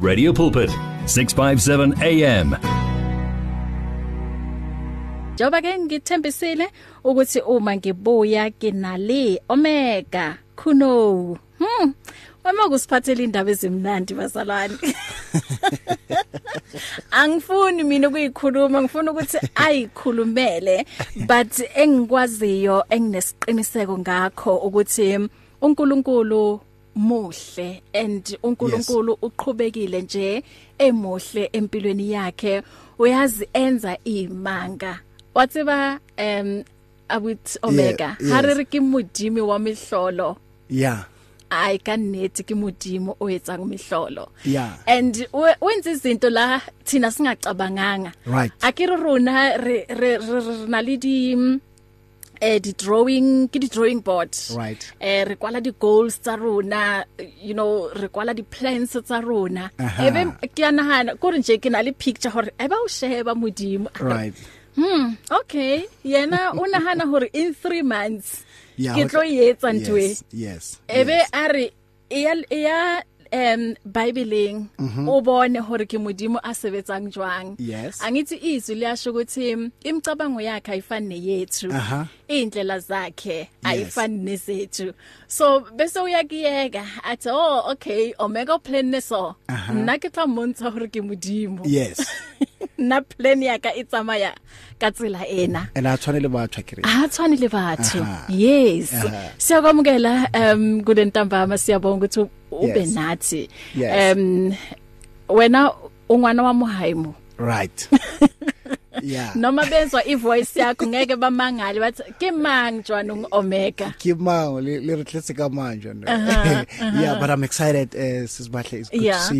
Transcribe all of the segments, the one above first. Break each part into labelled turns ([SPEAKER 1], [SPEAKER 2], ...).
[SPEAKER 1] Radio Pulpit, 657 AM.
[SPEAKER 2] Njoba ke ngithembisile ukuthi uma ngibuya kinale Omega Kuno. Hmm. Uma kusiphathela indaba ezimnandi bazalwane. Angifuni mina ukuyikhuluma, ngifuna ukuthi ayikhulumele, but engikwaziyo enginesiqiniseko ngakho ukuthi uNkulunkulu muhle and uNkulunkulu uqhubekile nje emohle empilweni yakhe uyazi enza imanga watsiba um abut omega
[SPEAKER 3] yes.
[SPEAKER 2] hari ri ke modimo wa mihlolo
[SPEAKER 3] Yeah.
[SPEAKER 2] ay ka neti ke modimo oyetsang mihlolo
[SPEAKER 3] Yeah.
[SPEAKER 2] and we- wenza izinto la thina singacabanganga
[SPEAKER 3] Right.
[SPEAKER 2] akere rona re re re- re na le di mm, eh di drawing ke di drawing board
[SPEAKER 3] Right.
[SPEAKER 2] eh re kwala di goals tsa rona you know re kwala di plans tsa rona
[SPEAKER 3] Aha.
[SPEAKER 2] ebe ke ya nahana gore nje ke na le picture hore eba o sheba modimo
[SPEAKER 3] Right.
[SPEAKER 2] Hmm, okay. Yena o nahana hore in 3 months
[SPEAKER 3] Yeah.
[SPEAKER 2] ke
[SPEAKER 3] okay.
[SPEAKER 2] tlo e yetsa ntwe.
[SPEAKER 3] Yes. Yes.
[SPEAKER 2] Ebe
[SPEAKER 3] yes.
[SPEAKER 2] a re e ya ya em Bibleeng o bone hore ke modimo a sebetsang jwang.
[SPEAKER 3] Mhm. Yes.
[SPEAKER 2] Angithi izwi liyasho ukuthi imicabango yakhe ayifani neyethu.
[SPEAKER 3] Aha.
[SPEAKER 2] Indlela zakhe ayifani nezethu. So bese uyakiyeka athi oh okay omega plan neso. Nna ke tla montsha hore ke modimo.
[SPEAKER 3] Yes.
[SPEAKER 2] Nna plan ya ka itsamaya ka tsela ena.
[SPEAKER 3] And I tshwane le batho kere.
[SPEAKER 2] ha tshwane le batho
[SPEAKER 3] Aha.
[SPEAKER 2] yes
[SPEAKER 3] Aha.
[SPEAKER 2] siyakwamukela um kulentambama siyabonga ukuthi u- ube
[SPEAKER 3] Yes.
[SPEAKER 2] nathi
[SPEAKER 3] Yes.
[SPEAKER 2] um wena ungwana wa muhaimo
[SPEAKER 3] Right. Yeah.
[SPEAKER 2] noma bezwa ivoice yakho ngeke bamangali bathi ke mang jwana ung omega
[SPEAKER 3] Ke mang le le re tletse ka manje no. Yeah, but I'm excited uh, sis Bahle it's
[SPEAKER 2] Uh-huh,
[SPEAKER 3] good
[SPEAKER 2] Yeah. Mm-hmm.
[SPEAKER 3] to see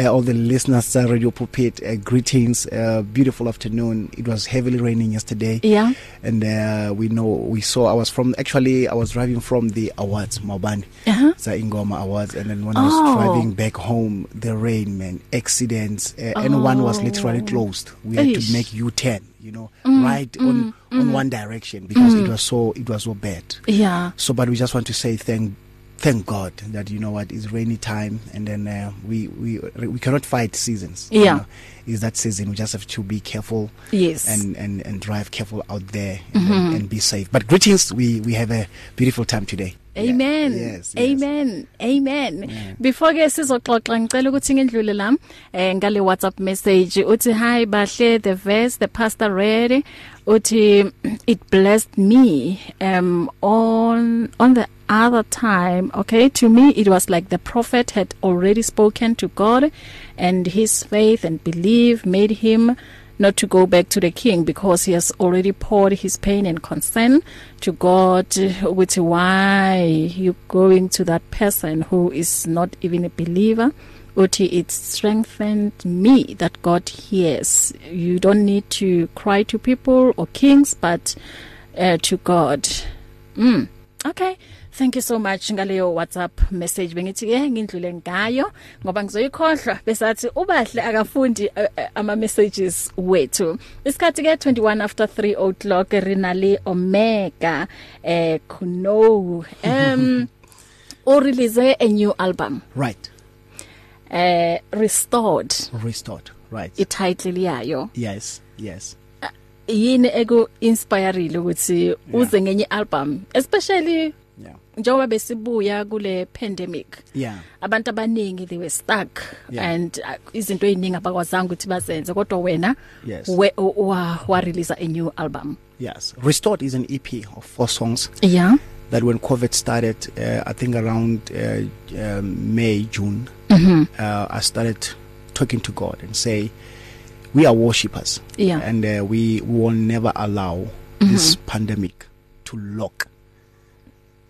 [SPEAKER 3] you. Uh, all the listeners at Radio Pulpit uh, greetings. Uh, beautiful afternoon. It was heavily raining yesterday.
[SPEAKER 2] yeah
[SPEAKER 3] and uh, we know we saw I was from actually I was driving from the awards Mabani
[SPEAKER 2] Uh-huh.
[SPEAKER 3] the Ingoma awards and then when oh. I
[SPEAKER 2] Oh.
[SPEAKER 3] was driving back home the rain man accidents uh, oh. and one was literally closed we had
[SPEAKER 2] Eish.
[SPEAKER 3] to make U10 you know mm. right mm. on mm. on one direction because mm. it was so it was so bad
[SPEAKER 2] yeah
[SPEAKER 3] so but we just want to say thank thank God that you know what it's rainy time and then uh, we we we cannot fight seasons you
[SPEAKER 2] Yeah.
[SPEAKER 3] know. is that season we just have to be careful
[SPEAKER 2] yes
[SPEAKER 3] and and and drive careful out there and, mm-hmm. and be safe but greetings we we have a beautiful time today
[SPEAKER 2] Amen.
[SPEAKER 3] yeah. yes, yes.
[SPEAKER 2] Amen. Amen. Before ke sizoxoxa ngicela ukuthi ngindlule la eh ngale WhatsApp message uthi hi bahle the verse the pastor read uthi it blessed me um on on the other time okay to me it was like the prophet had already spoken to God and his faith and belief made him not to go back to the king because he has already poured his pain and concern to God with why you going to that person who is not even a believer uthi it strengthened me that God hears you don't need to cry to people or kings but uh, to God mm okay Thank you so much ngaleyo WhatsApp message bengithi ke ngindlule ngayo ngoba ngizoyikhohlwa besathi ubahle akafundi uh, uh, ama messages wethu isikhathi ke 21 after 3 o'clock rina le Omega eh Kuno um o release a new album
[SPEAKER 3] right
[SPEAKER 2] eh restored
[SPEAKER 3] restored right it-
[SPEAKER 2] ititle liyayo
[SPEAKER 3] yes yes
[SPEAKER 2] yini eku inspireile ukuthi uze ngenye album especially
[SPEAKER 3] yeah
[SPEAKER 2] njengoba besibuya kule pandemic
[SPEAKER 3] yeah
[SPEAKER 2] abantu abaningi they were stuck yeah.
[SPEAKER 3] Yeah.
[SPEAKER 2] and uh, izinto eziningi abakwazanga ukuthi bazenze kodwa wena
[SPEAKER 3] Yes.
[SPEAKER 2] we, wa, wa release a new album
[SPEAKER 3] yes restored is an EP of four songs
[SPEAKER 2] yeah
[SPEAKER 3] that when covid started uh, I think around uh, um, May June mm-hmm. uh, I started talking to God and say we are worshippers
[SPEAKER 2] Yeah.
[SPEAKER 3] and uh, we will never allow mm-hmm. this pandemic to lock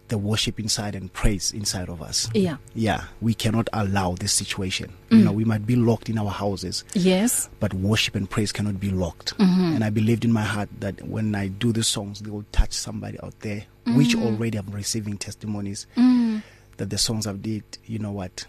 [SPEAKER 3] the worship inside and praise inside of us
[SPEAKER 2] yeah
[SPEAKER 3] yeah we cannot allow this situation mm. you know we might be locked in our houses
[SPEAKER 2] yes
[SPEAKER 3] but worship and praise cannot be locked mm-hmm. and i believed in my heart that when i do the songs they will touch somebody out there mm-hmm. which already i'm receiving testimonies mm. that the songs i've did you know what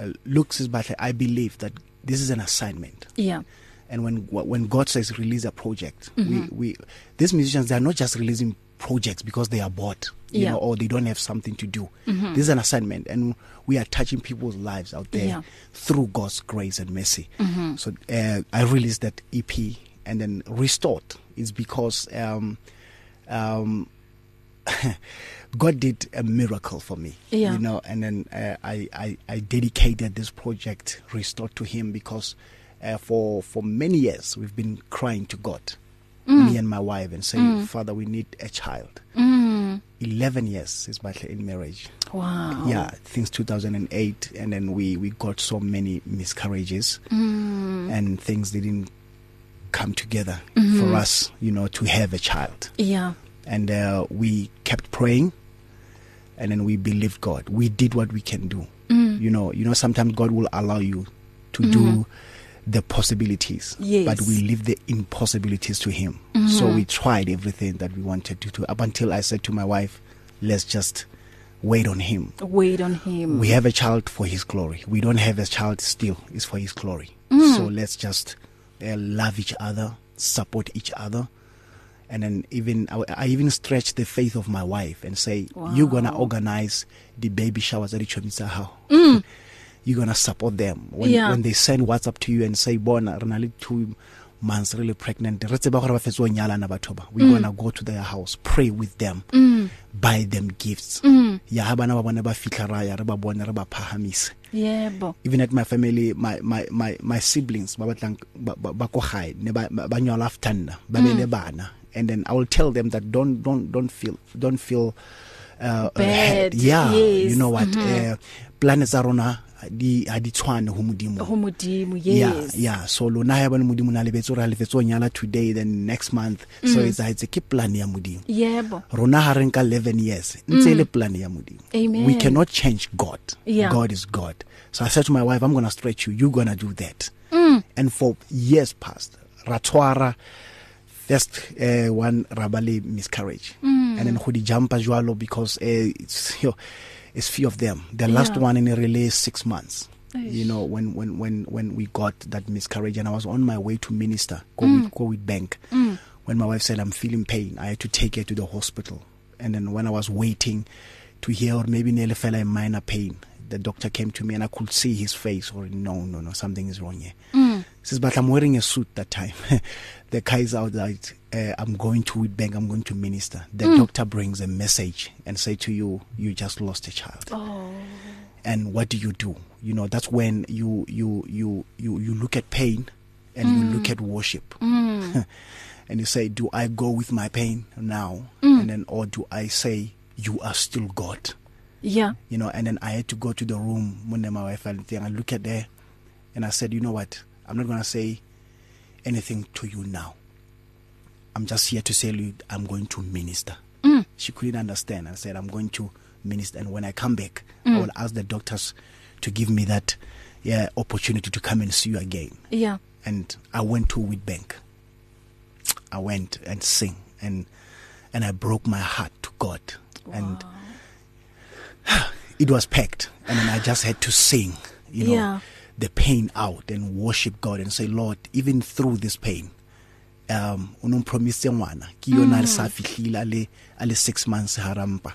[SPEAKER 3] uh, looks is but i believe that this is an assignment
[SPEAKER 2] yeah
[SPEAKER 3] and when when god says release a project mm-hmm. we we these musicians they are not just releasing projects because they are bored, you
[SPEAKER 2] Yeah. Mm-hmm.
[SPEAKER 3] know, or they don't have something to do. This is an assignment, and we are touching people's lives out there
[SPEAKER 2] Yeah. Mm-hmm.
[SPEAKER 3] through God's grace and mercy. So uh, I released that EP and then restored. It's because um, um, God did a miracle for me,
[SPEAKER 2] Yeah.
[SPEAKER 3] you know, and then uh, I, I I dedicated this project restored to Him because uh, for for many years we've been crying to God, me and my wife, and saying, Father, we need a child. Eleven years is my in marriage.
[SPEAKER 2] Wow.
[SPEAKER 3] Yeah, since 2008, and then we we got so many miscarriages, and things didn't come together for us, you know, to have a child
[SPEAKER 2] Yeah.
[SPEAKER 3] and uh, we kept praying and then we believed god we did what we can do you know you know sometimes god will allow you to do the possibilities
[SPEAKER 2] Yes.
[SPEAKER 3] but we leave the impossibilities to him so we tried everything that we wanted to do up until i said to my wife let's just wait on him
[SPEAKER 2] Wait on him.
[SPEAKER 3] we have a child for his glory. We don't have a child still. It's for his glory. So let's just uh, love each other, support each other. And then even I, I even stretch the faith of my wife and say, you're going to organize the baby showers at Ichomisa how? You're going to support them. When,
[SPEAKER 2] Yeah.
[SPEAKER 3] when they send WhatsApp to you and say, Bona, re na le two months really pregnant. Re tseba gore ba fetse ho nyalana batho ba. We're going to go to their house, pray with them, buy them gifts. Ya ha bana ba bona ba fihla ra ya re ba bone re ba phahamise.
[SPEAKER 2] Yebo.
[SPEAKER 3] even at my family my my my, my siblings ba batlang ba ba- ba ko gae ne ba ba ba nyala after nna ba
[SPEAKER 2] Mm.
[SPEAKER 3] be le bana and then i will tell them that don't don't don't feel don't feel uh, uh,
[SPEAKER 2] Bad,
[SPEAKER 3] he- yeah
[SPEAKER 2] yes. Mm-hmm.
[SPEAKER 3] you know what uh, planets are rona di ha di tshwane ho modimo
[SPEAKER 2] Ho modimo. Oh, Yes.
[SPEAKER 3] yeah yeah so lona ha e ba le modimo na lebetse re lebetse o nyala today then next month so
[SPEAKER 2] Mm.
[SPEAKER 3] e it's it's a keep plan ya modimo
[SPEAKER 2] Yebo.
[SPEAKER 3] rona ha re nka 11 years ntse e le plan ya modimo
[SPEAKER 2] Mm. Amen.
[SPEAKER 3] we cannot change god
[SPEAKER 2] Yeah.
[SPEAKER 3] god is god so i said to my wife i'm going to stretch you you're going to do that
[SPEAKER 2] Mm.
[SPEAKER 3] and for years past ratwara first uh, one rabale miscarriage
[SPEAKER 2] Mm.
[SPEAKER 3] and then hudi jumpa jwalo because uh, it's you know, it's few of them the last
[SPEAKER 2] Yeah.
[SPEAKER 3] one in a relay 6 months you know when when when when we got that miscarriage and i was on my way to minister go with, go with bank when my wife said i'm feeling pain i had to take her to the hospital and then when i was waiting to hear or maybe nearly fell a minor pain the doctor came to me and i could see his face or no no no something is wrong here says but i'm wearing a suit that time the guy is out like uh, i'm going to Witbank, i'm going to minister the doctor brings a message and say to you you just lost a child
[SPEAKER 2] Oh.
[SPEAKER 3] and what do you do you know that's when you you you you, you look at pain and you look at worship and you say do i go with my pain now and then or do i say you are still god
[SPEAKER 2] Yeah.
[SPEAKER 3] you know and then i had to go to the room when my wife and thing i look at her and i said you know what i'm not going to say anything to you now i'm just here to say you i'm going to minister she couldn't understand i said i'm going to minister and when i come back i will ask the doctors to give me that yeah, opportunity to come and see you again
[SPEAKER 2] Yeah.
[SPEAKER 3] and I went to Witbank. I went and sing and and I broke my heart to God and it was packed and then I just had to sing, you know,
[SPEAKER 2] Yeah.
[SPEAKER 3] the pain out and worship God and say, Lord, even through this pain, um o ne mpromise ngwana ke yona a le sa fihlile a le a le 6 months harampa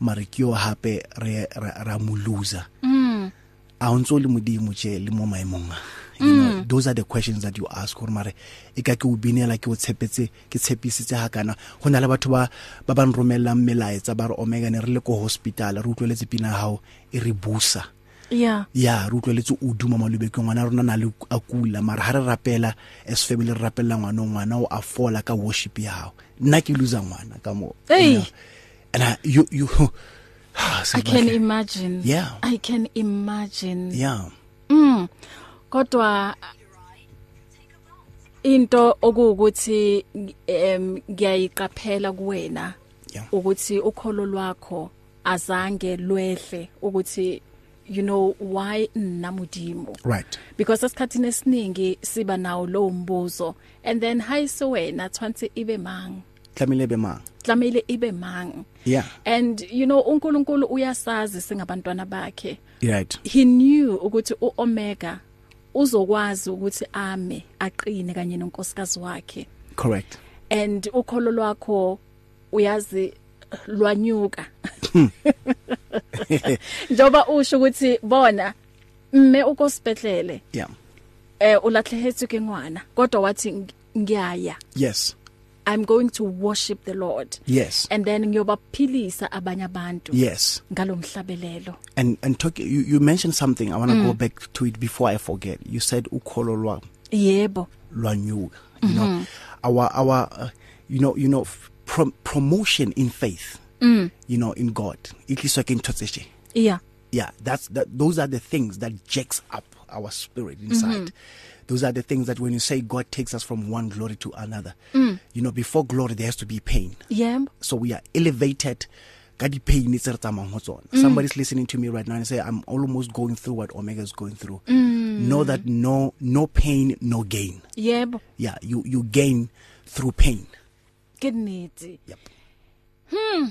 [SPEAKER 3] mare ke yo hape re ra ra mo loser a o ntse o le modimo tje le mo maemong a you know those are the questions that you ask gore mare e ka ke o binela ke o tshepetse ke tshepisitse ha kana go na le batho ba ba ba nromellang melaetsa ba re omega ne re le ko hospital re utlweletse pina ya hao e re busa
[SPEAKER 2] Yeah.
[SPEAKER 3] ya re utlweletse o duma malobeke ngwana rona na le a kula mara ha re rapela as family re rapelela ngwana o ngwana o a fola ka worship ya hao nna ke loser ngwana ka mo
[SPEAKER 2] Hey.
[SPEAKER 3] and I, you you
[SPEAKER 2] I can imagine.
[SPEAKER 3] Yeah.
[SPEAKER 2] I can imagine.
[SPEAKER 3] yeah
[SPEAKER 2] Mm. Kodwa into okuwukuthi em ngiyayiqaphela kuwena
[SPEAKER 3] Yeah.
[SPEAKER 2] ukuthi ukholo lwakho azange lwehle ukuthi you know why namudimo
[SPEAKER 3] right
[SPEAKER 2] because esikhathini esiningi siba nawo lowo mbuzo and then hayise wena tshwantse ibe mang
[SPEAKER 3] tlamile e be mang
[SPEAKER 2] tlamele ibe mang
[SPEAKER 3] yeah
[SPEAKER 2] and you know uNkulunkulu uyasazi singabantwana bakhe
[SPEAKER 3] right
[SPEAKER 2] he knew ukuthi uOmega uzokwazi ukuthi ame aqine kanye nonkosikazi wakhe
[SPEAKER 3] correct
[SPEAKER 2] and ukholo lwakho uyazi lwanyuka njoba usho ukuthi bona mme ukosibedlele
[SPEAKER 3] yeah
[SPEAKER 2] eh ulatlehetswe ke ngwana kodwa wathi "Ng- ngiyaya
[SPEAKER 3] yes
[SPEAKER 2] i'm going to worship the lord
[SPEAKER 3] yes
[SPEAKER 2] and then ngiyobaphilisa abanye abantu
[SPEAKER 3] yes
[SPEAKER 2] ngalomhlabelelo
[SPEAKER 3] and and talk, you you mentioned something i want to go back to it before i forget you said ukholo lwa
[SPEAKER 2] yebo
[SPEAKER 3] lwanyuka you know our our uh, you know you know f- prom- promotion in faith mm. you know in god it is like in tsotshe
[SPEAKER 2] iya
[SPEAKER 3] yeah that's that those are the things that jacks up our spirit inside those are the things that when you say god takes us from one glory to another mm. you know before glory there has to be pain
[SPEAKER 2] yebo
[SPEAKER 3] so we are elevated ka di pain tse re tsamayang ho tsona somebody's listening to me right now and say i'm almost going through what omega is going through mm. know that no no pain no gain
[SPEAKER 2] yebo
[SPEAKER 3] yeah you you gain through pain
[SPEAKER 2] ke nnete Hmm.
[SPEAKER 3] Yep.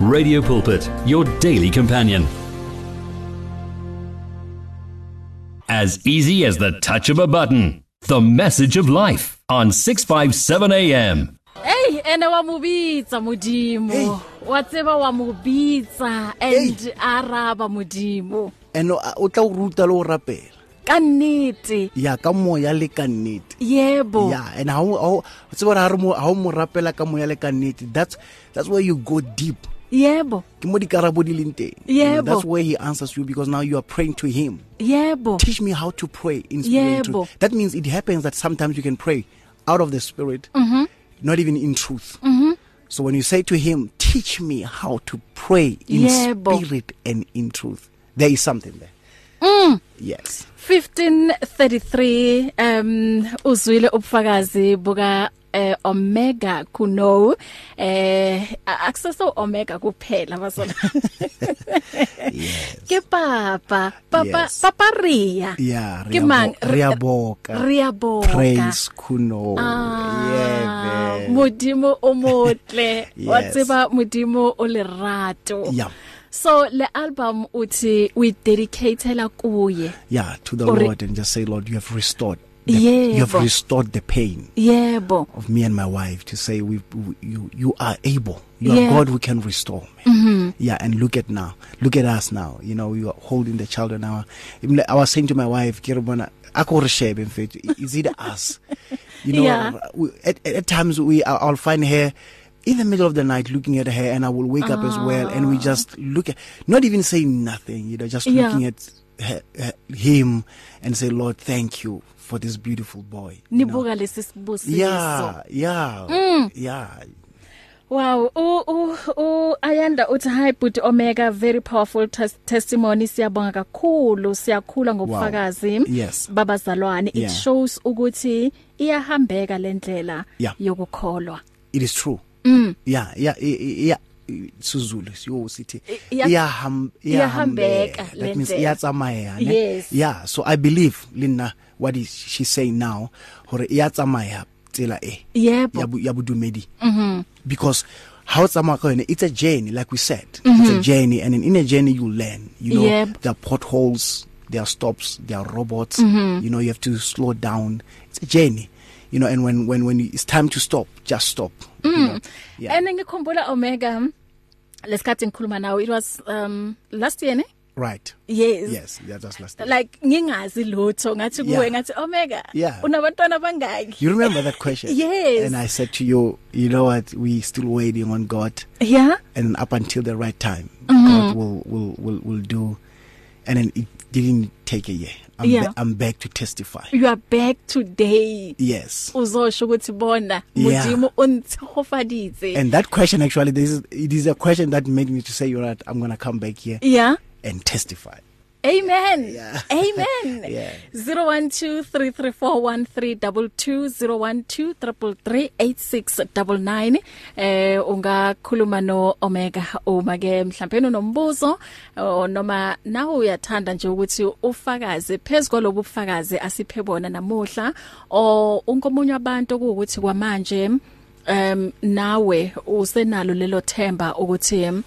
[SPEAKER 1] Radio Pulpit, your daily companion. As easy as the touch of a button. The message of life on 657 AM.
[SPEAKER 2] hey ene wa mobitsa
[SPEAKER 3] Hey.
[SPEAKER 2] modimo wa tseba wa mobitsa and araba modimo
[SPEAKER 3] and uh, o tla o ruta le o rapela
[SPEAKER 2] ka nnete
[SPEAKER 3] ya ka moya le ka nnete
[SPEAKER 2] yebo
[SPEAKER 3] yeah and how how tsebo re ha re mo ha o mo rapela ka moya le ka nnete that's that's where you go deep
[SPEAKER 2] yebo
[SPEAKER 3] ke mo dikarabo di leng teng You know,
[SPEAKER 2] Yebo.
[SPEAKER 3] that's where he answers you because now you are praying to him
[SPEAKER 2] yebo
[SPEAKER 3] teach me how to pray in spirit and
[SPEAKER 2] Yebo.
[SPEAKER 3] truth. that means it happens that sometimes you can pray out of the spirit mm-hmm. not even in truth mm-hmm. so when you say to him teach me how to pray in
[SPEAKER 2] Yebo.
[SPEAKER 3] spirit and in truth there is something there mm. yes
[SPEAKER 2] 1533 um uzwile ubufakazi buka eh omega kuno eh a- akuseso omega kuphela basona
[SPEAKER 3] yes
[SPEAKER 2] ke papa papa
[SPEAKER 3] Yes.
[SPEAKER 2] papa ria
[SPEAKER 3] yeah
[SPEAKER 2] Ke mang?
[SPEAKER 3] ria boka
[SPEAKER 2] ria boka
[SPEAKER 3] praise kuno
[SPEAKER 2] Ah,
[SPEAKER 3] yeah man.
[SPEAKER 2] modimo o motle wa
[SPEAKER 3] Yes.
[SPEAKER 2] tseba modimo o lerato
[SPEAKER 3] yeah
[SPEAKER 2] so le album uthi we dedicatela kuye
[SPEAKER 3] yeah to the
[SPEAKER 2] Or-
[SPEAKER 3] lord and just say lord you have restored the,
[SPEAKER 2] Yebo.
[SPEAKER 3] you have restored the pain
[SPEAKER 2] yebo
[SPEAKER 3] of me and my wife to say we, we you you are able you
[SPEAKER 2] Yeah.
[SPEAKER 3] are god who can restore man mm-hmm. yeah and look at now look at us now you know you are holding the child in our even like I was saying to my wife ke re bona akoreshebe mfethu is it us you know
[SPEAKER 2] Yeah.
[SPEAKER 3] we, at, at at times we I- I'll find her in the middle of the night looking at her and I will wake up as well and we just look at not even saying nothing you know just
[SPEAKER 2] Ah. Yeah.
[SPEAKER 3] looking at her, her, him and say lord thank you for this beautiful boy you know?
[SPEAKER 2] nibuka lesi sibusiso
[SPEAKER 3] yeah yeah mm. yeah
[SPEAKER 2] Wow, u u u ayanda uthi hi but omega very powerful tes testimony siyabonga kakhulu siyakhula ngobufakazi
[SPEAKER 3] Yes.
[SPEAKER 2] babazalwane
[SPEAKER 3] Yeah.
[SPEAKER 2] it shows ukuthi iyahambeka lendlela
[SPEAKER 3] Yeah.
[SPEAKER 2] yokukholwa
[SPEAKER 3] it is true mm. yeah yeah i- i- yeah sizulu siyo sithi
[SPEAKER 2] iya-
[SPEAKER 3] iyaham-
[SPEAKER 2] iyahambeka
[SPEAKER 3] iyahambeka.
[SPEAKER 2] le
[SPEAKER 3] that means
[SPEAKER 2] ndlela.
[SPEAKER 3] iyatsamaya ne?
[SPEAKER 2] Yes.
[SPEAKER 3] yeah so i believe linna what is she saying now hore iyatsamaya tsela e ya
[SPEAKER 2] yebo
[SPEAKER 3] bu- ya budumedi
[SPEAKER 2] Mm-hmm.
[SPEAKER 3] mhm because how tsamaya ka yone it's a journey like we said mm-hmm. it's a journey and in a journey you learn you know
[SPEAKER 2] Yep.
[SPEAKER 3] there are potholes there are stops there are robots mm-hmm. you know you have to slow down it's a journey you know and when when when it's time to stop just stop mm. you know? yeah
[SPEAKER 2] Mm-hmm. and ngikhumbula omega lesikhathi ngikhuluma nawe it was um last year ne
[SPEAKER 3] right
[SPEAKER 2] yes
[SPEAKER 3] yes yeah that's last time.
[SPEAKER 2] like ngingazi lutho ngathi
[SPEAKER 3] Yeah.
[SPEAKER 2] kuwe ngathi omega
[SPEAKER 3] Yeah.
[SPEAKER 2] unabantwana bangaki
[SPEAKER 3] you remember that question
[SPEAKER 2] Yes.
[SPEAKER 3] and i said to you you know what we still waiting on god
[SPEAKER 2] yeah
[SPEAKER 3] and up until the right time mm-hmm. god will will will will do and then it didn't take a year. I'm,
[SPEAKER 2] Yeah. Mm-hmm.
[SPEAKER 3] ba- I'm back to testify.
[SPEAKER 2] you are back today
[SPEAKER 3] Yes.
[SPEAKER 2] uzosho ukuthi bona
[SPEAKER 3] Yeah.
[SPEAKER 2] modimo o ntshofaditse
[SPEAKER 3] And that question actually, this is, it is a question that made me to say, you're right, I'm going to come back here
[SPEAKER 2] yeah
[SPEAKER 3] and testify.
[SPEAKER 2] Amen.
[SPEAKER 3] Yeah.
[SPEAKER 2] Amen.
[SPEAKER 3] Yeah.
[SPEAKER 2] 0123341322 0123338699 eh ungakhuluma no Omega uma ke mhlawumbe unombuzo oh, noma nawe uyathanda nje ukuthi ufakaze phezulu lobu bufakazi asiphe bona namuhla o unkomunye abantu ukuthi kwamanje em nawe usenalo lelo themba ukuthi em,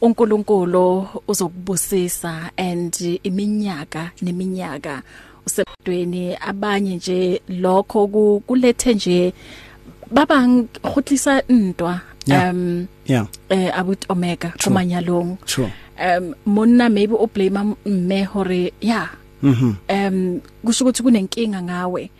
[SPEAKER 2] uNkulunkulu uzokubusisa and iminyaka neminyaka usemdweni abanye nje lokho ku- kulethe nje baba ngihotlisa ntwa
[SPEAKER 3] Yeah.
[SPEAKER 2] um
[SPEAKER 3] Yeah,
[SPEAKER 2] eh abut omega kumanyalong
[SPEAKER 3] sure.
[SPEAKER 2] um monna maybe o blame me hore yeah
[SPEAKER 3] Mm-hmm.
[SPEAKER 2] em kusho ukuthi kunenkinga ngawe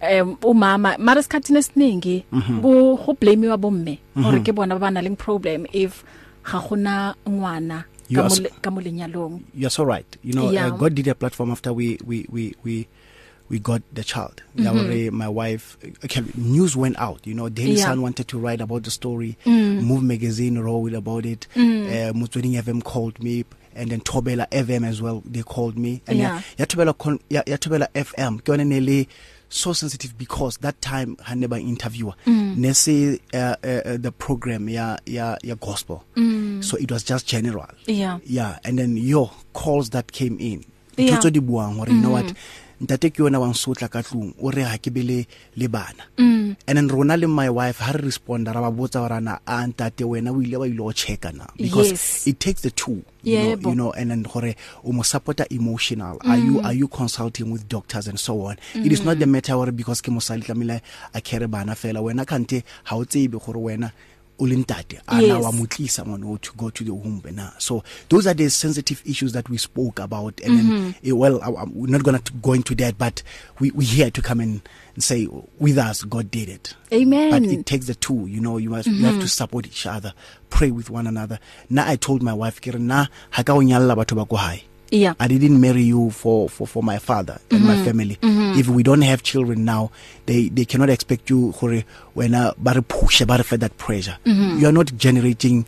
[SPEAKER 2] em umama mara isikhathini esiningi
[SPEAKER 3] Mm-hmm.
[SPEAKER 2] ku go blame wa bomme gore ke bona ba bana le problem if ga gona ngwana
[SPEAKER 3] You
[SPEAKER 2] ka
[SPEAKER 3] are
[SPEAKER 2] mo
[SPEAKER 3] sp-
[SPEAKER 2] le- ka mo lenyalong
[SPEAKER 3] You're so right. You know,
[SPEAKER 2] Yeah.
[SPEAKER 3] uh, God did a platform after we, we, we, we, we got the child. Yeah,
[SPEAKER 2] Mm-hmm.
[SPEAKER 3] already my wife, okay, news went out. You know, Daily
[SPEAKER 2] Yeah. Mm.
[SPEAKER 3] Sun wanted to write about the story. Move magazine wrote about it. Uh, Mutsuring FM called me. And then Tobela FM as well, they called me. And
[SPEAKER 2] Yeah.
[SPEAKER 3] ya Tobela Con- ya ya Tobela FM, ke yone ne le so sensitive because that time ha ne ba interviewer
[SPEAKER 2] Mm.
[SPEAKER 3] ne se uh, uh, uh, the program ya ya ya gospel
[SPEAKER 2] Mm.
[SPEAKER 3] so it was just general
[SPEAKER 2] yeah
[SPEAKER 3] yeah and then your calls that came in
[SPEAKER 2] Yeah. Mm.
[SPEAKER 3] ntotso di buang gore you know what ntate ke yona wa nsotla ka tlung o re ha ke be le le bana
[SPEAKER 2] Mm.
[SPEAKER 3] and then rona le my wife ha re responda ra ba botsa gore na a ntate wena o ile wa ile o checka na because
[SPEAKER 2] Yes.
[SPEAKER 3] it takes the two you know,
[SPEAKER 2] Yebo.
[SPEAKER 3] you know and then gore o mo supporta emotional are
[SPEAKER 2] Mm.
[SPEAKER 3] you are you consulting with doctors and so on it is not the matter gore because ke mosali tlamehile a kere bana fela wena kante ha o tsebe gore wena o le ntate a na
[SPEAKER 2] Yes.
[SPEAKER 3] wa motlisa ngwana to go to the womb na so those are the sensitive issues that we spoke about and then
[SPEAKER 2] Mm-hmm.
[SPEAKER 3] eh, well I, I'm, we're not going to go into that but we we here to come and, and say with us God did it but
[SPEAKER 2] amen
[SPEAKER 3] it takes the two you know you must you
[SPEAKER 2] Mm-hmm.
[SPEAKER 3] have to support each other pray with one another now i told my wife kere na ha ka o nyalla batho ba ko hae
[SPEAKER 2] yeah Mm-hmm.
[SPEAKER 3] I didn't marry you for, for, for my father and my family. If we don't have children now, they, they cannot expect you gore wena ba re push ba re fe that pressure.
[SPEAKER 2] Mm-hmm.
[SPEAKER 3] You are not generating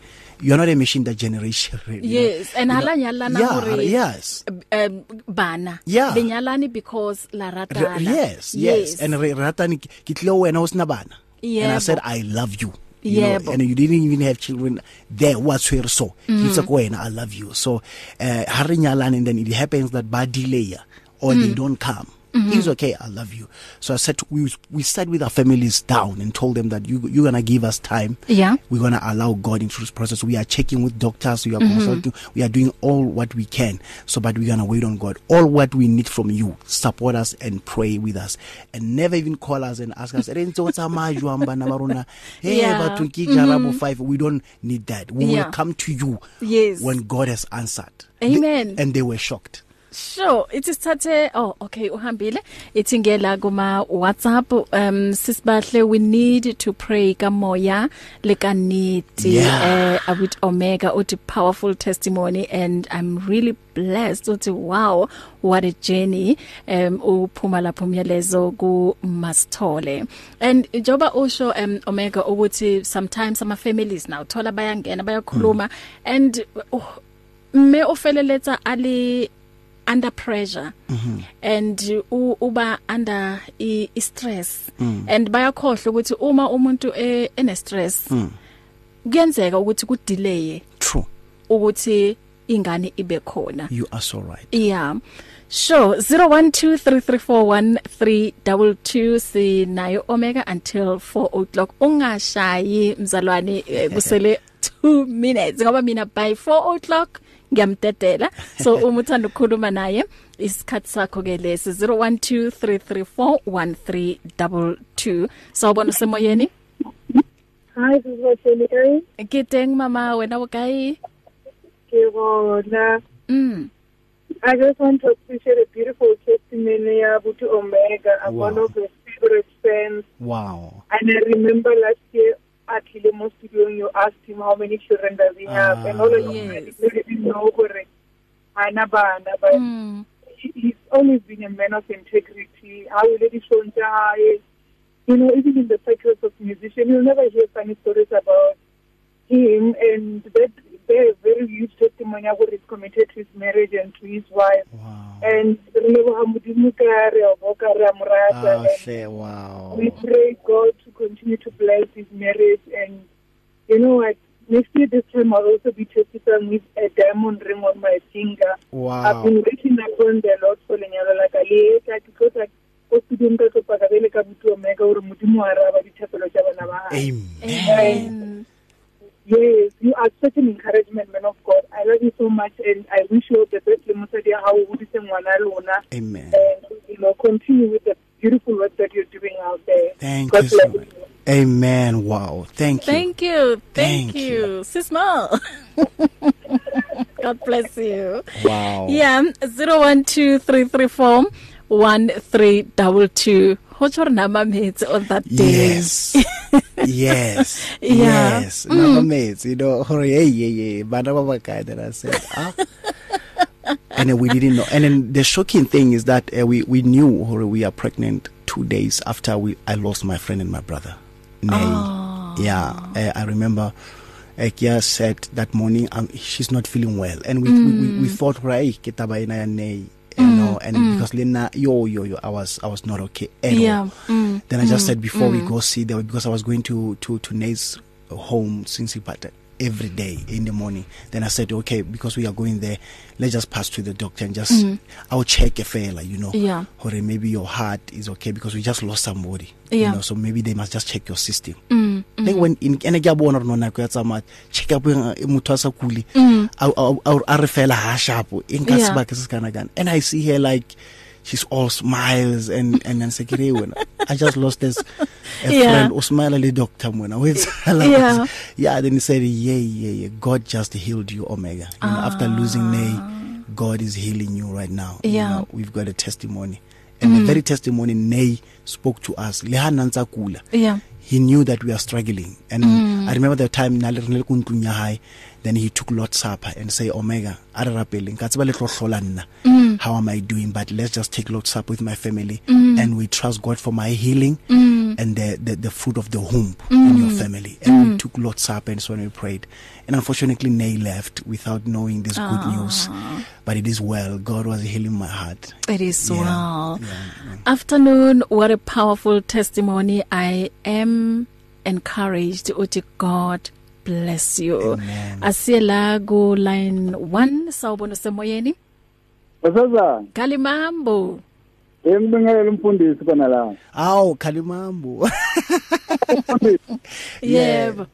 [SPEAKER 3] you are not a machine that generates children. you know.
[SPEAKER 2] yes and
[SPEAKER 3] You know,
[SPEAKER 2] hala nyalana
[SPEAKER 3] yeah,
[SPEAKER 2] gore
[SPEAKER 3] yes.
[SPEAKER 2] um bana
[SPEAKER 3] Yeah.
[SPEAKER 2] benyalani because la
[SPEAKER 3] Re-
[SPEAKER 2] ratana
[SPEAKER 3] yes, yes, yes. And re ratani ke tlo wena o sna bana. And I
[SPEAKER 2] Yebo.
[SPEAKER 3] said I love you. You know,
[SPEAKER 2] Yebo.
[SPEAKER 3] and you didn't even have children there whatsoever so Oh. mm. he's like wena I love you so uh ha re nyalana and then it happens that ba delay or mm. they don't come mm-hmm. it's okay I love you so I said to- we we sat with our families down and told them that you you're going to give us time
[SPEAKER 2] yeah
[SPEAKER 3] we're going to allow God into this process. We are checking with doctors, we are consulting, we are doing all what we can. So, but we're going to wait on God. All what we need from you, support us and pray with us. And never even call us and ask us, "Eh, ntse o tsamaya jwang bana ba rona? hey,
[SPEAKER 2] Yeah.
[SPEAKER 3] batho ke jara bo five. We don't need that. We
[SPEAKER 2] Mm-hmm. Yeah.
[SPEAKER 3] will come to you
[SPEAKER 2] Yes.
[SPEAKER 3] when God has answered.
[SPEAKER 2] Amen.
[SPEAKER 3] They, and they were shocked.
[SPEAKER 2] Sure, ithi sithathe oh okay uhambile ithi ngela kuma WhatsApp um sisibahle we need to pray ka moya le ka niti
[SPEAKER 3] Yeah.
[SPEAKER 2] eh with omega uthi powerful testimony and I'm really blessed uthi wow what a journey um uphuma lapho myalezo ku masithole and njoba usho um omega ukuthi sometimes ama families now thola bayangena bayakhuluma and oh, me ofeleletsa ali under pressure mm-hmm. and u, uba under i, i stress mm. and bayakhohle ukuthi uma umuntu e- ene stress mm. kuyenzeka ukuthi ku delay
[SPEAKER 3] True.
[SPEAKER 2] ukuthi ingane ibe khona
[SPEAKER 3] You are so right.
[SPEAKER 2] Yeah. Sure. 0123341322 sinayo Omega until 4 o'clock. Ungashayi mzalwane eh, kusele 2 minutes ngoba mina by 4 o'clock ngiyamdedela. So uma uthanda ukukhuluma naye isikhatsi sakho ke lesi 0123341322. Sawubona semoyeni?
[SPEAKER 4] Hi, this is Vacheli.
[SPEAKER 2] Ngiteng mama wena ukai?
[SPEAKER 4] Kevona.
[SPEAKER 2] Mm.
[SPEAKER 4] I just want to appreciate a beautiful testimony about Omega. I'm
[SPEAKER 3] Wow.
[SPEAKER 4] one of the favorite fans.
[SPEAKER 3] Wow.
[SPEAKER 4] And I remember last year at Hilemo Studio, you asked him how many children does he have.
[SPEAKER 3] Ah.
[SPEAKER 4] and all of
[SPEAKER 2] Yes.
[SPEAKER 4] you didn't know correct. anabana but
[SPEAKER 3] Hmm.
[SPEAKER 4] mm. he, he's always been a man of integrity how will it show you know even in the circles of musician you'll never hear funny stories about him and that they're a very huge testimony of what is committed to his marriage and to his wife
[SPEAKER 3] Wow.
[SPEAKER 4] and re leboga modimo ka re a boka re a mo rata
[SPEAKER 3] Ah,
[SPEAKER 4] and
[SPEAKER 3] hle, wow.
[SPEAKER 4] we pray God to continue to bless his marriage and you know what next year this time I'll also be testifying with a diamond ring on my finger I've
[SPEAKER 3] Wow.
[SPEAKER 4] been waiting upon the Lord for lenyalo la ka le ka ke tlo tla ko studiong ka tlo paka bele ka butu omeka hore modimo a raba dithapelo tsa bana ba hae.
[SPEAKER 3] Amen.
[SPEAKER 2] Amen.
[SPEAKER 4] yes you are such an encouragement man of God I love you so much and I wish you all the best le mosadi ya hao o hodise ngwana lona
[SPEAKER 3] Amen.
[SPEAKER 4] and you know continue with the beautiful work that you're doing out there
[SPEAKER 3] Thank
[SPEAKER 4] God
[SPEAKER 3] you so
[SPEAKER 4] bless
[SPEAKER 3] much. Amen. Wow. Thank you.
[SPEAKER 2] Thank you. Thank,
[SPEAKER 3] Thank
[SPEAKER 2] you.
[SPEAKER 3] you.
[SPEAKER 2] Sisma. God bless you.
[SPEAKER 3] Wow.
[SPEAKER 2] Yeah, 0123341322. What's your number mates on that day?
[SPEAKER 3] Yes. yes.
[SPEAKER 2] Yeah.
[SPEAKER 3] Yes. Number mates, you know, hore hey yeah yeah, bana ba guy that I said. Ah. and then we didn't know. And then the shocking thing is that uh, we we knew hore we are pregnant 2 days after we I lost my friend and my brother. Nay. Yeah. Uh, I remember uh, Kia said that morning um, she's not feeling well and we mm. we, we, we thought right ke taba ena ya nay. You know, and mm. because Lena, yo, yo, yo, I was, I was not okay at
[SPEAKER 2] Yeah.
[SPEAKER 3] all.
[SPEAKER 2] Mm.
[SPEAKER 3] Then I just said before we go see them because I was going to to to Nate's home since he parted every day in the morning. Then I said, okay, because we are going there, let's just pass to the doctor and just I'll check a failure, you know.
[SPEAKER 2] Mm. Yeah.
[SPEAKER 3] Or maybe your heart is okay because we just lost somebody.
[SPEAKER 2] Yeah.
[SPEAKER 3] You know, so maybe they must just check your system. Mm. Then
[SPEAKER 2] Mm-hmm.
[SPEAKER 3] when in ene ke a bona rona nako ya tsamaya check up motho a sa kule a- a- a a re fela ha sharp e nka
[SPEAKER 2] Mm-hmm. Yeah.
[SPEAKER 3] sebaka se se kana kana and i see her like she's all smiles and and then sekere wena i just lost this a
[SPEAKER 2] Yeah.
[SPEAKER 3] friend usmile le doctor wena
[SPEAKER 2] Yeah.
[SPEAKER 3] wetsa yeah then he said yeah yeah yeah god just healed you omega you know, after losing nay god is healing you right now
[SPEAKER 2] Ah. Yeah. Mm-hmm.
[SPEAKER 3] you know, we've got a testimony and the very testimony nay spoke to us le ha nantsa kula
[SPEAKER 2] Yeah.
[SPEAKER 3] he knew that we are struggling and mm. i remember the time na le rene ko ntlong ya hae then he took lord supper and say omega a re rapeleng ka tseba le tlo hlola nna how am i doing but let's just take lord supper with my family mm. and we trust god for my healing mm. and the, the the fruit of the womb mm. in your family and mm. we took lord supper and so on we prayed and unfortunately nay left without knowing this good news but it is well god was healing my heart
[SPEAKER 2] It is
[SPEAKER 3] Yeah.
[SPEAKER 2] well. Afternoon, what a powerful testimony. I am encouraged. Uthi God bless you.
[SPEAKER 3] Amen.
[SPEAKER 2] Asiyela go line 1 sawubona semoyeni.
[SPEAKER 5] Basazana,
[SPEAKER 2] Kalimambo.
[SPEAKER 5] ngibingelela umfundisi khona la.
[SPEAKER 3] aw khalimambo
[SPEAKER 2] Yebo.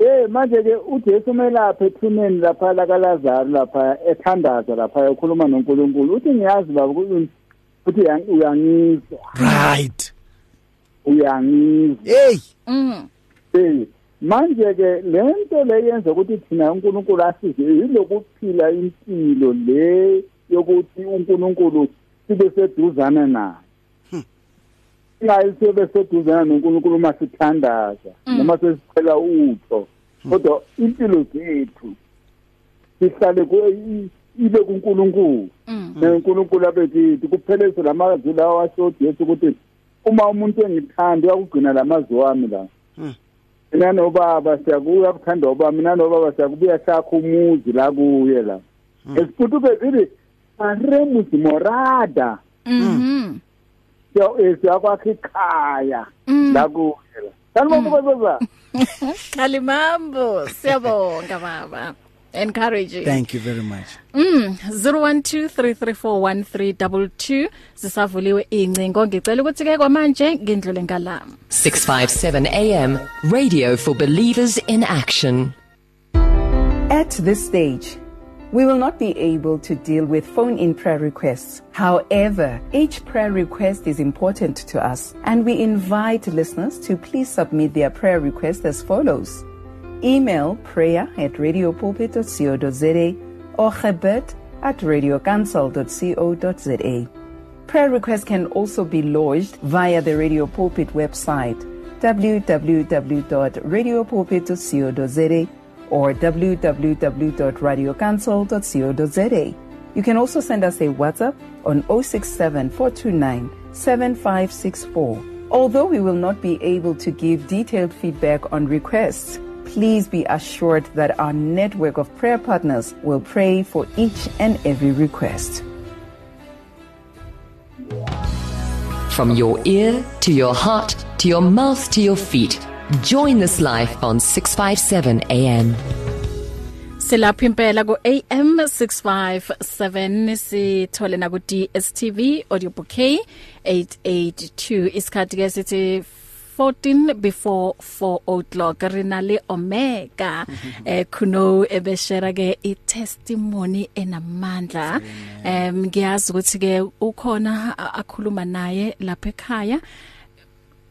[SPEAKER 5] Eh manje ke uJesu melaphe ethuneni lapha la kaLazaro lapha ethandaza lapha ekhuluma noNkulunkulu. Uthi ngiyazi baba ukuthi uthi yang- uyangizwa,
[SPEAKER 3] right
[SPEAKER 5] uyangizwa.
[SPEAKER 3] hey
[SPEAKER 2] Mm.
[SPEAKER 5] Eh manje ke lento leyenza ukuthi thina uNkulunkulu asize yilokuphila impilo le yokuthi uNkulunkulu sibe seduzana naye. Singayi sibe seduzana noNkulunkulu uma sithandaza noma sesicela utho. Kodwa impilo zethu sihlale ku i- ibe kuNkulunkulu.
[SPEAKER 2] Mm.
[SPEAKER 5] NoNkulunkulu abekithi kuphelezwe lamazwi lawa asho Jesu ukuthi uma umuntu engithanda uyakugcina lamazwi wami la. mina nobaba siyakuya kuthanda obaba mina nobaba siyakubuya sakho umuzi la kuye la esiphutube zithi aremuzi morada
[SPEAKER 3] Mm.
[SPEAKER 2] Mhm.
[SPEAKER 5] siya- eh, siyakwakha ikhaya la kuye la sanibonkubaza
[SPEAKER 2] Kalimambo. Siyabonga baba. Encouraging.
[SPEAKER 3] Thank you very much.
[SPEAKER 2] Mm 0123341322 sisavuliwe incingo ngicela ukuthi ke kwamanje ngindlule ngalama
[SPEAKER 6] 657 AM, radio for believers in action.
[SPEAKER 7] At this stage, we will not be able to deal with phone in prayer requests. However, each prayer request is important to us, and we invite listeners to please submit their prayer request as follows Email prayer at radiopulpit.co.za or gebed at radiocancel.co.za. Prayer requests can also be lodged via the Radio Pulpit website www.radiopulpit.co.za or www.radiocancel.co.za. You can also send us a WhatsApp on 067 429 7564. Although we will not be able to give detailed feedback on requests, please be assured that our network of prayer partners will pray for each and every request.
[SPEAKER 6] From your ear to your heart to your mouth to your feet. Join this life on 657 AM.
[SPEAKER 2] Silapha impela ku AM 657 sithole na ku DSTV audio bouquet 882 isikhathi ke sithi 14 before 4 o'clock rina le omega eh kuno ebeshera ke i testimony enamandla em ngiyazi ukuthi ke ukhona a- akhuluma naye lapha ekhaya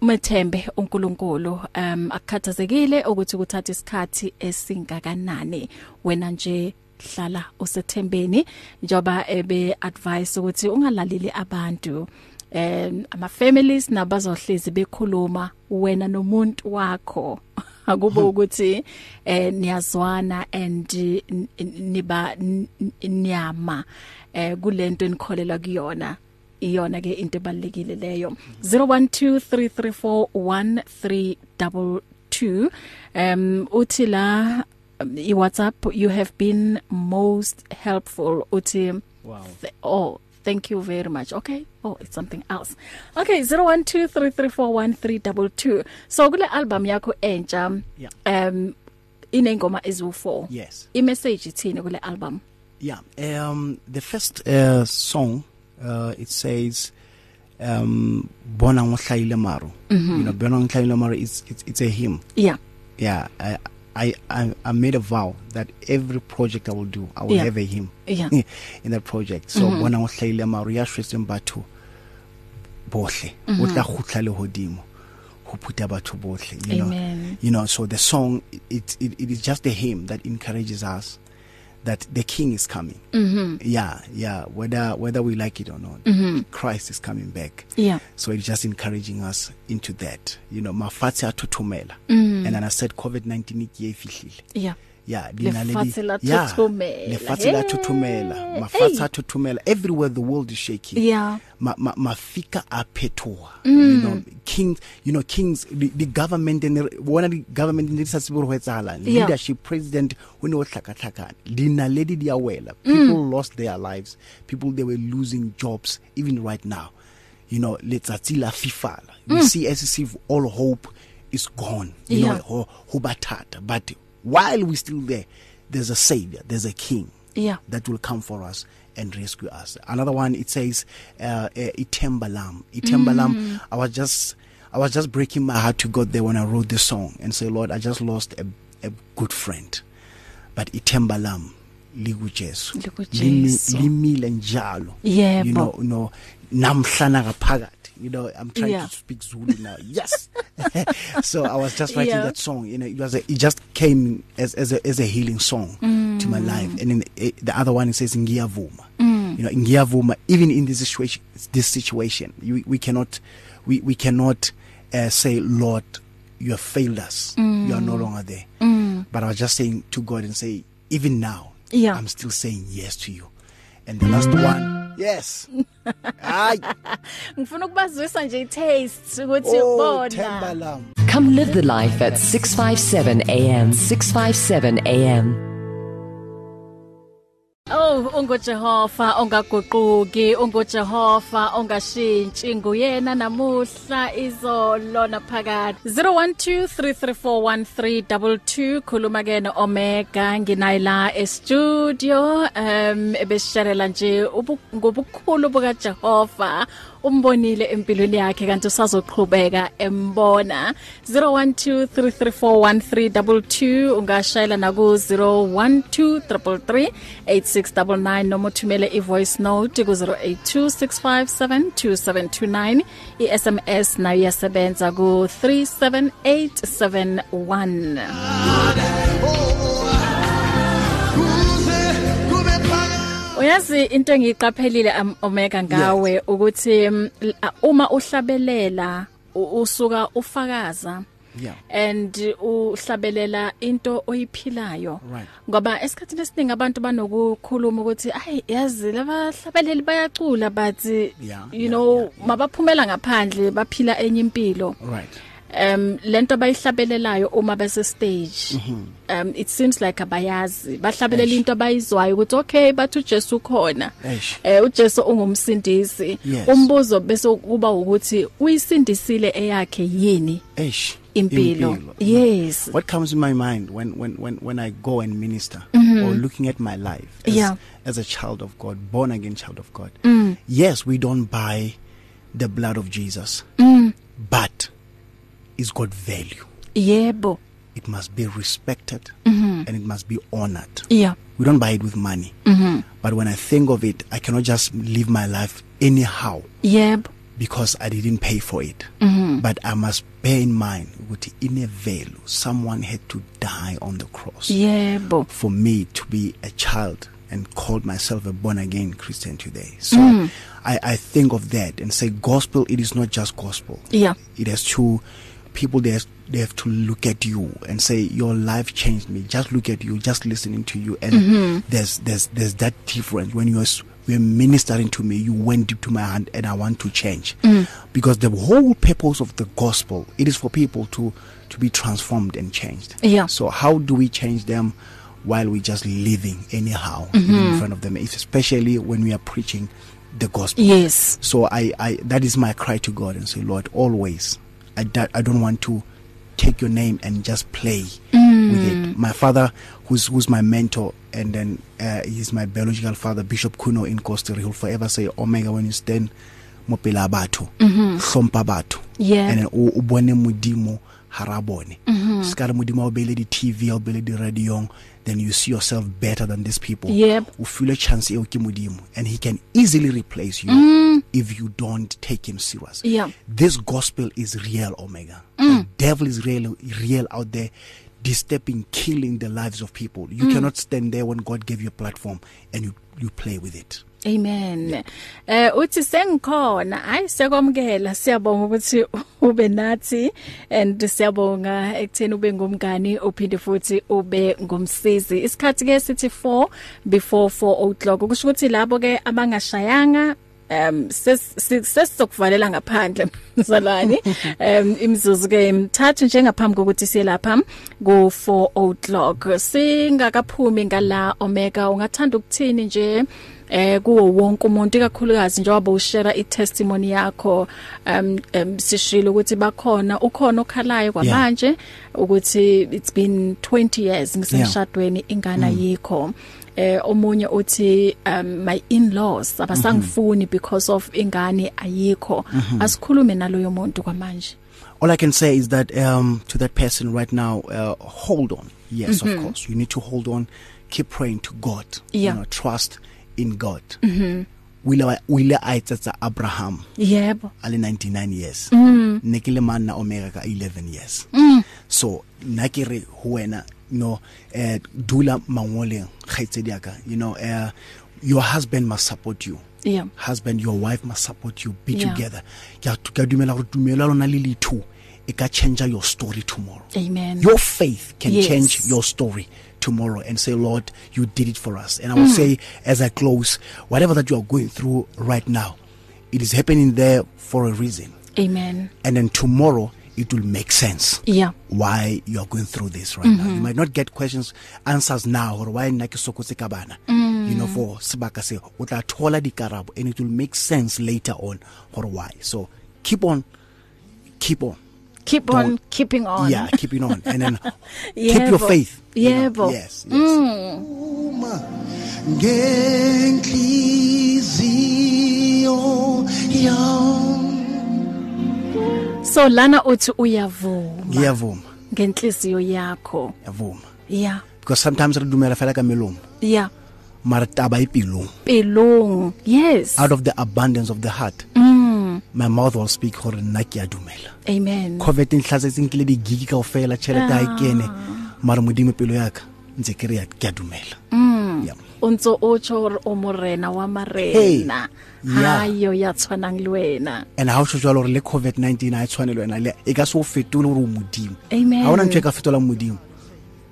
[SPEAKER 2] methembe uNkulunkulu um akukhathazekile ukuthi kuthatha isikhathi esingakanani wena nje hlala usethembeni njoba ebe advice ukuthi ungalaleli abantu um ama families nabazohlezi bekhuluma wena nomuntu wakho akubo ukuthi eh niyazwana and eh, n- n- niba n- n- niyama eh kulento enikholelwa kuyona iyona ke into ebalekile leyo 0123341322 um uthi la um, i WhatsApp you have been most helpful uthi wow th oh thank you very much okay oh it's something else okay 0123341322 so kule album yakho entsha
[SPEAKER 3] Yeah.
[SPEAKER 2] um inengoma ezu4
[SPEAKER 3] Yes.
[SPEAKER 2] i message ithini kule album
[SPEAKER 3] Yeah. Um, the first uh, song, uh, it says, um, Bona Ngohlaile Maru. You know, Bona Ngohlaile Maru is it's, it's a hymn.
[SPEAKER 2] yeah
[SPEAKER 3] Yeah. I, I I I made a vow that every project I will do, I will
[SPEAKER 2] Yeah.
[SPEAKER 3] have a hymn
[SPEAKER 2] yeah Mm-hmm.
[SPEAKER 3] in that project. So Bona Ngohlaile Maru ya shwetseng batho bohle.
[SPEAKER 2] Mm-hmm.
[SPEAKER 3] O tla khutla le hodimo. Ho phuta batho bohle, you know.
[SPEAKER 2] amen
[SPEAKER 3] you know so the song it it, it is just a hymn that encourages us that the king is coming mm-hmm. yeah yeah whether whether we like it or not mm-hmm. christ is coming back
[SPEAKER 2] yeah
[SPEAKER 3] so it's just encouraging us into that you know mafatshe a thothomela mm. and then i said covid 19 ke e fihlile
[SPEAKER 2] yeah
[SPEAKER 3] yeah lena le
[SPEAKER 2] Lefatshe
[SPEAKER 3] di-
[SPEAKER 2] la
[SPEAKER 3] yeah,
[SPEAKER 2] thothomela.
[SPEAKER 3] lefatshe la
[SPEAKER 2] Hey.
[SPEAKER 3] thothomela mafatshe a thothomela everywhere the world is shaking
[SPEAKER 2] yeah
[SPEAKER 3] ma, ma, mafika aphethoga mm. you know kings you know kings the, the government and bona di government ne di sa tsebe hore ho etsahalang
[SPEAKER 2] Yeah.
[SPEAKER 3] leadership president o ne o hlakatlhakane dinaledi di a wela people mm. lost their lives people they were losing jobs even right now you know letsatsi la fifala we mm. see as if all hope is gone you
[SPEAKER 2] Yeah.
[SPEAKER 3] know ho, ho batata but while we still there there's a savior there's a king
[SPEAKER 2] Yeah.
[SPEAKER 3] that will come for us and rescue us. Another one it says uh, uh Itembalam. Itembalam mm. I was just I was just breaking my heart to God there when I wrote this song and say Lord I just lost a, a good friend. But Itembalam likujesu
[SPEAKER 2] LikuJesu.
[SPEAKER 3] limile njalo
[SPEAKER 2] Yebo.
[SPEAKER 3] you know no namhlana kaphakathi you know I'm trying
[SPEAKER 2] Yeah.
[SPEAKER 3] to speak Zulu now yes so I was just writing
[SPEAKER 2] Yeah.
[SPEAKER 3] yeah. that song you know it was a, it just came as as a, as a healing song mm. to my life and then it, the other one it says ngiyavuma mm. you know ngiyavuma even in this situation this situation you, we cannot we we cannot uh, say lord you have failed us mm. you are no longer there mm. but I was just saying to God and say even now
[SPEAKER 2] Yeah.
[SPEAKER 3] I'm still saying yes to you and the last one yes ay
[SPEAKER 2] ngifuna ukubazwisa nje i taste ukuthi
[SPEAKER 3] oh
[SPEAKER 2] bona
[SPEAKER 3] tembalam
[SPEAKER 6] Come live the life at 657 AM. 657 AM.
[SPEAKER 2] Oh ungoJehova ongaguquki ungoJehova ongashintshi nguyena namuhla izolo naphakade 0123341322 khuluma ke no Omega nginayi la e studio um ebesharela nje ubu- ngobukhulu bukaJehova umbonile empilweni yakhe kanti usazoqhubeka embona 0123341322 ungashayela na ku 0123338699 noma uthumele ivoice note ku 0826572729 iSMS nayo iyasebenza ku 37871 Uyazi into engiqaphelile am Omega um, ngawe ukuthi mm, l- a- uma uhlabelela u- usuka ufakaza
[SPEAKER 3] Yeah.
[SPEAKER 2] and uhlabelela into oyiphilayo
[SPEAKER 3] Right.
[SPEAKER 2] ngoba esikhathini esiningi abantu banokukhuluma ukuthi ayi yazi labahlabeleli bayacula but
[SPEAKER 3] Yeah,
[SPEAKER 2] you
[SPEAKER 3] yeah,
[SPEAKER 2] know mabaphumela ngaphandle baphila enye impilo
[SPEAKER 3] Right.
[SPEAKER 2] um lento bayihlabelelayo uma bese stage um it seems like abayazi bahlabelela
[SPEAKER 3] Mm-hmm. Eish.
[SPEAKER 2] into bayizwayo ukuthi okay bathu Jesu khona
[SPEAKER 3] Eish.
[SPEAKER 2] eh uJesu ungumsindisi
[SPEAKER 3] Yes.
[SPEAKER 2] umbuzo bese kuba ukuthi uyisindisile eyakhe yini
[SPEAKER 3] Eish.
[SPEAKER 2] impilo yes
[SPEAKER 3] What comes in my mind when when when, when I go and minister or looking at my life as,
[SPEAKER 2] Mm-hmm. Yeah. Mm.
[SPEAKER 3] as a child of God, born again child of God. Yes, we don't buy the blood of Jesus.
[SPEAKER 2] Mm.
[SPEAKER 3] But it's got value.
[SPEAKER 2] yebo
[SPEAKER 3] It must be respected
[SPEAKER 2] Mm-hmm.
[SPEAKER 3] and it must be honored.
[SPEAKER 2] yeah
[SPEAKER 3] We don't buy it with money.
[SPEAKER 2] Mm-hmm.
[SPEAKER 3] But when I think of it, I cannot just live my life anyhow
[SPEAKER 2] yebo
[SPEAKER 3] because I didn't pay for it. Mm-hmm. But I must bear in mind with inner value, someone had to die on the cross
[SPEAKER 2] yebo
[SPEAKER 3] for me to be a child and called myself a born again Christian today. So
[SPEAKER 2] Mm.
[SPEAKER 3] I, I think of that and say, gospel, it is not just gospel.
[SPEAKER 2] Yeah.
[SPEAKER 3] It has to, people, they have, they have to look at you and say, your life changed me. Just look at you, just listening to you. And
[SPEAKER 2] Mm-hmm.
[SPEAKER 3] there's, there's, there's that difference when you're, s- you're ministering to me, you went deep to my hand and I want to change.
[SPEAKER 2] Mm.
[SPEAKER 3] Because the whole purpose of the gospel, it is for people to, to be transformed and changed.
[SPEAKER 2] Yeah.
[SPEAKER 3] So how do we change them while we just living anyhow in front of them, It's especially when we are preaching the gospel?
[SPEAKER 2] yes
[SPEAKER 3] So I, I that is my cry to God and say, Lord, always, I, do- I don't want to take your name and just play with
[SPEAKER 2] Mm.
[SPEAKER 3] it. My father, who's who's my mentor, and then uh, he's my biological father, Bishop Kuno in Costa Rica, will forever say, Omega, when you stand, mopela batho hlompha batho
[SPEAKER 2] Mm-hmm. Yeah. Mm-hmm.
[SPEAKER 3] and then o o bone modimo hara bone se ka re modimo a o beile di-tv a o beile di-radiong then you see yourself better than these people
[SPEAKER 2] Yep.
[SPEAKER 3] o feel a chance eo ke modimo and he can easily replace you if you don't take him serious
[SPEAKER 2] Mm. Yeah. Mm.
[SPEAKER 3] this gospel is real omega the devil is real real out there disturbing killing the lives of people you
[SPEAKER 2] Mm.
[SPEAKER 3] cannot stand there when god gave you a platform and you, you play with it
[SPEAKER 2] Amen. Eh uthi sengikhona hayi sekwamukela siyabonga ukuthi ube nathi and siyabonga ekutheni ube ngumngani uphinde futhi ube ngumsizi. Isikhathi ke sithi 4 before 4 o'clock kusho ukuthi labo ke abangashayanga um ses- ses- sesizokuvalela ngaphandle mzalwane um imizuzu ke imthathu njengaphambi kokuthi siye lapha ku 4 o'clock singakaphumi ngala omega ungathanda ukuthini nje eh kuwo wonke umuntu ikakhulukazi njengoba ushare i-testimony yakho um, um sishilo ukuthi bakhona ukhona okhalayo kwamanje ukuthi it's been 20 years ngisemshadweni ingane yikho eh omunye uthi um my in-laws abasangifuni because of ingane ayikho asikhulume naloyo muntu kwamanje
[SPEAKER 3] all I can say is that um, to that person right now, uh, hold on. Yes, of course, you need to hold on. Keep praying to God.
[SPEAKER 2] Mm-hmm. Yeah.
[SPEAKER 3] You know, trust in God. Mm-hmm. Wila wila aitsetsa Abraham
[SPEAKER 2] yebo
[SPEAKER 3] ali 99 years. Mm. Nekile man na Omega ka 11 years. Mm. So nakere huena no eh dula mangole khaitsedi aka. You know, uh, your husband must support you.
[SPEAKER 2] yeah
[SPEAKER 3] husband your wife must support you be
[SPEAKER 2] Yeah.
[SPEAKER 3] yeah. together ke a ke a dumela gore tumelo ya lona le le two e ka change your story tomorrow
[SPEAKER 2] amen
[SPEAKER 3] your faith can
[SPEAKER 2] Yes.
[SPEAKER 3] yes. change your story tomorrow and say lord you did it for us and i will mm. say as i close whatever that you are going through right now it is happening there for a reason
[SPEAKER 2] amen
[SPEAKER 3] and then tomorrow it will make sense
[SPEAKER 2] yeah
[SPEAKER 3] why you are going through this right mm-hmm. now. You might not get questions answers now or why nna ke sokotse ka bana. You know for sebaka se o tla thola dikarabo and it will make sense later on or why. So keep on keep on.
[SPEAKER 2] keep on
[SPEAKER 3] Don't-
[SPEAKER 2] keeping on
[SPEAKER 3] Yeah, keeping on and then keep your
[SPEAKER 2] Yebo.
[SPEAKER 3] faith. you know.
[SPEAKER 2] Yebo. Mm.
[SPEAKER 3] Yes. yes. ngenhliziyo yami
[SPEAKER 2] so lana uthi uyavuma
[SPEAKER 3] ngiyavuma
[SPEAKER 2] ngenhliziyo yakho
[SPEAKER 3] ngiyavuma
[SPEAKER 2] yeah
[SPEAKER 3] because sometimes re dumela fela ka melomo
[SPEAKER 2] yeah
[SPEAKER 3] mara taba e pelong
[SPEAKER 2] pelong yes
[SPEAKER 3] out of the abundance of the heart
[SPEAKER 2] Mm.
[SPEAKER 3] my mouth will speak gore nna ke a dumela
[SPEAKER 2] amen
[SPEAKER 3] covid e ntlhatsetseng ke le di-gig
[SPEAKER 2] Ah. Mm.
[SPEAKER 3] kaofela tšhelete ga e kene mare modimo pelo yaka ntse ke re ya- ke a dumela Yeah.
[SPEAKER 2] ontso o tsho o morena wa marena ha
[SPEAKER 3] yeah.
[SPEAKER 2] yo ya tshwanang le wena
[SPEAKER 3] and ha o tsho jalo re le covid 19 ha e tshwane le wena le e ka se o fetole gore o modimo
[SPEAKER 2] Amen. Mm.
[SPEAKER 3] ha ona ntho e ka fetolang modimo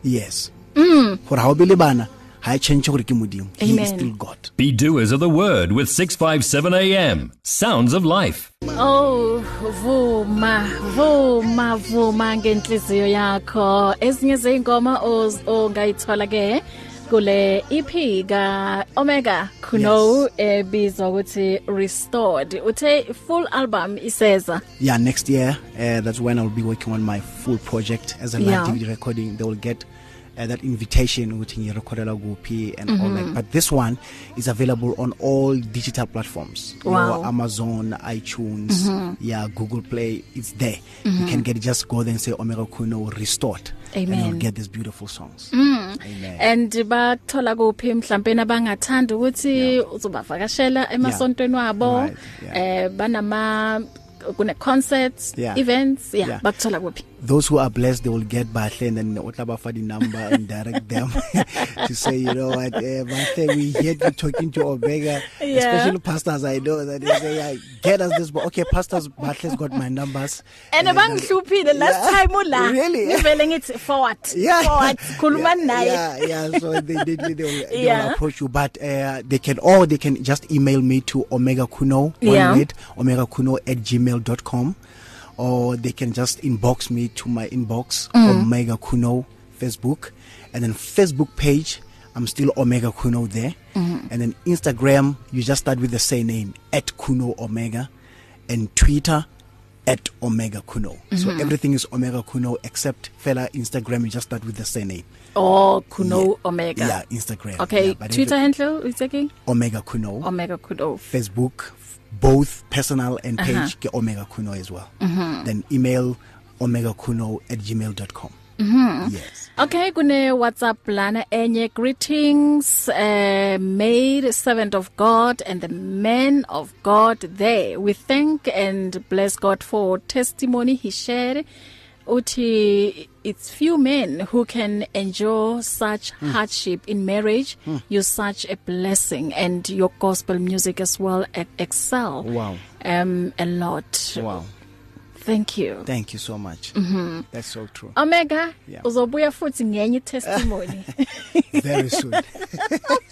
[SPEAKER 3] yes gore ha o be le bana ha e change gore ke modimo he is
[SPEAKER 2] Amen.
[SPEAKER 3] still god
[SPEAKER 1] Be doers of the word with 657 AM. Sounds of life.
[SPEAKER 2] Oh vuma vuma vuma ngenhliziyo yakho ezinye zeingoma oz- ongayithola ke kule EP ka Omega Kuno ebizwa ukuthi Restored uthe full album iseza
[SPEAKER 3] yeah next year uh, that's when i'll be working on my full project as a live
[SPEAKER 2] Yeah.
[SPEAKER 3] dvd recording they will get uh, that invitation ukuthi ngiyirecordela kuphi and all
[SPEAKER 2] Mm-hmm.
[SPEAKER 3] that but this one is available on all digital platforms
[SPEAKER 2] Wow. Mm-hmm.
[SPEAKER 3] your amazon itunes yeah google play it's there you can get it just go there and say omega kuno restored and
[SPEAKER 2] Amen. Mm. Eh,
[SPEAKER 3] you'll get these beautiful songs amen
[SPEAKER 2] and bathola kuphi mhlambe nabangathanda ukuthi uzobavakashela emasontweni wabo
[SPEAKER 3] Right, yeah.
[SPEAKER 2] eh banama kune concerts
[SPEAKER 3] Yeah.
[SPEAKER 2] events yeah
[SPEAKER 3] Yeah.
[SPEAKER 2] bakuthola kuphi
[SPEAKER 3] those who are blessed they will get bahle and then otlabafa the number and direct them to say you know what uh, bahle we hear you talking to Omega
[SPEAKER 2] Yeah.
[SPEAKER 3] especially pastors I know that they say yeah, get us this but okay pastors bahle's got my numbers
[SPEAKER 2] and
[SPEAKER 3] Uh,
[SPEAKER 2] bangihluphile last
[SPEAKER 3] Yeah.
[SPEAKER 2] time oh, ula
[SPEAKER 3] Really?
[SPEAKER 2] ngivele ngithi forward
[SPEAKER 3] yeah
[SPEAKER 2] forward khuluma naye
[SPEAKER 3] yeah, yeah yeah so they they, they, they, will, they
[SPEAKER 2] Yeah.
[SPEAKER 3] will approach you but uh, they can or they can just email me to omega kuno
[SPEAKER 2] Yeah.
[SPEAKER 3] one word omega kuno at gmail.com or they can just inbox me to my inbox mm. omega kuno facebook and then facebook page i'm still omega kuno there mm-hmm. and then instagram you just start with the same name at kuno omega and twitter at omega kuno mm-hmm. so everything is omega kuno except fella instagram you just start with the same name
[SPEAKER 2] oh kuno yeah. omega
[SPEAKER 3] yeah instagram
[SPEAKER 2] okay
[SPEAKER 3] yeah, but
[SPEAKER 2] twitter
[SPEAKER 3] every-
[SPEAKER 2] handle is taking
[SPEAKER 3] omega kuno
[SPEAKER 2] omega kuno
[SPEAKER 3] Facebook, f- both personal and page, uh-huh. get Omega Kuno as well. Mm-hmm. Then email omegakuno at gmail.com. Mm-hmm. Yes.
[SPEAKER 2] okay kune whatsapp lana enye greetings uh, made servant of god and the man of god there we thank and bless god for testimony he shared uthi it's few men who can endure such
[SPEAKER 3] Hmm.
[SPEAKER 2] mm. hardship in marriage mm. you're such a blessing and your gospel music as well e- excel
[SPEAKER 3] Wow.
[SPEAKER 2] um a lot
[SPEAKER 3] Wow.
[SPEAKER 2] thank you
[SPEAKER 3] Thank you so much. Mm-hmm. That's so true.
[SPEAKER 2] omega
[SPEAKER 3] Yeah.
[SPEAKER 2] uzobuya futhi ngenye testimony
[SPEAKER 3] Very soon.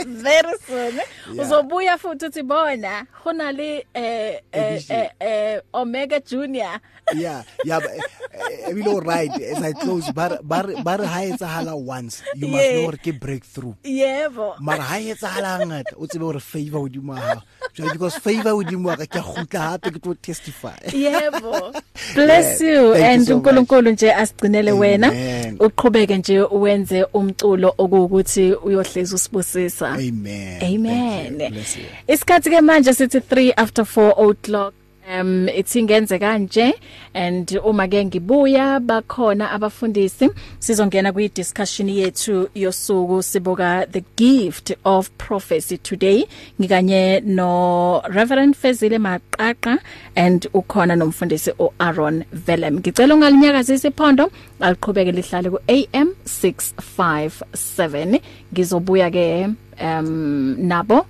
[SPEAKER 2] very soon uzobuya futhi uthi bona khona le eh eh, eh eh Omega Junior
[SPEAKER 3] yeah. Yeah. But, uh, you know, right. As I close, bar, bar, bar, high once. You must
[SPEAKER 2] Yeah.
[SPEAKER 3] know what ke breakthrough.
[SPEAKER 2] yebo
[SPEAKER 3] mara ha e tsala ngata o tsebe gore favor odimo ha jwa because favor odimo ga ke a gutla hape ke tlo testify
[SPEAKER 2] yebo bless
[SPEAKER 3] Yeah,
[SPEAKER 2] you
[SPEAKER 3] thank you
[SPEAKER 2] and
[SPEAKER 3] so much.
[SPEAKER 2] uNkulunkulu nje asigcinele wena
[SPEAKER 3] Amen.
[SPEAKER 2] uqhubeke nje uwenze umculo okuwukuthi uyohleza usibusisa
[SPEAKER 3] amen
[SPEAKER 2] Amen.
[SPEAKER 3] Thank you. bless you
[SPEAKER 2] Isikhathi ke manje sithi 3 after 4 o'clock. Um itsingenze kanje and uma ke ngibuya bakhona abafundisi sizongena kwi discussion yethu yosuku siboka the gift of prophecy today ngikanye no Reverend Fezile Maqaqa and ukhona nomfundisi uAaron Velem ngicela ungalinyakazisa iphondo aliqhubeke lihlale ku AM 657 ngizobuya ke um nabo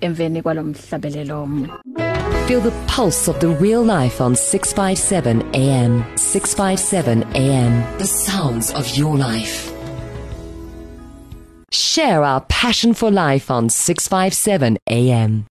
[SPEAKER 2] emveni kwalomhlabelelo
[SPEAKER 6] Feel the pulse of the real life on 657 AM. 657 AM. The sounds of your life. Share our passion for life on 657 AM.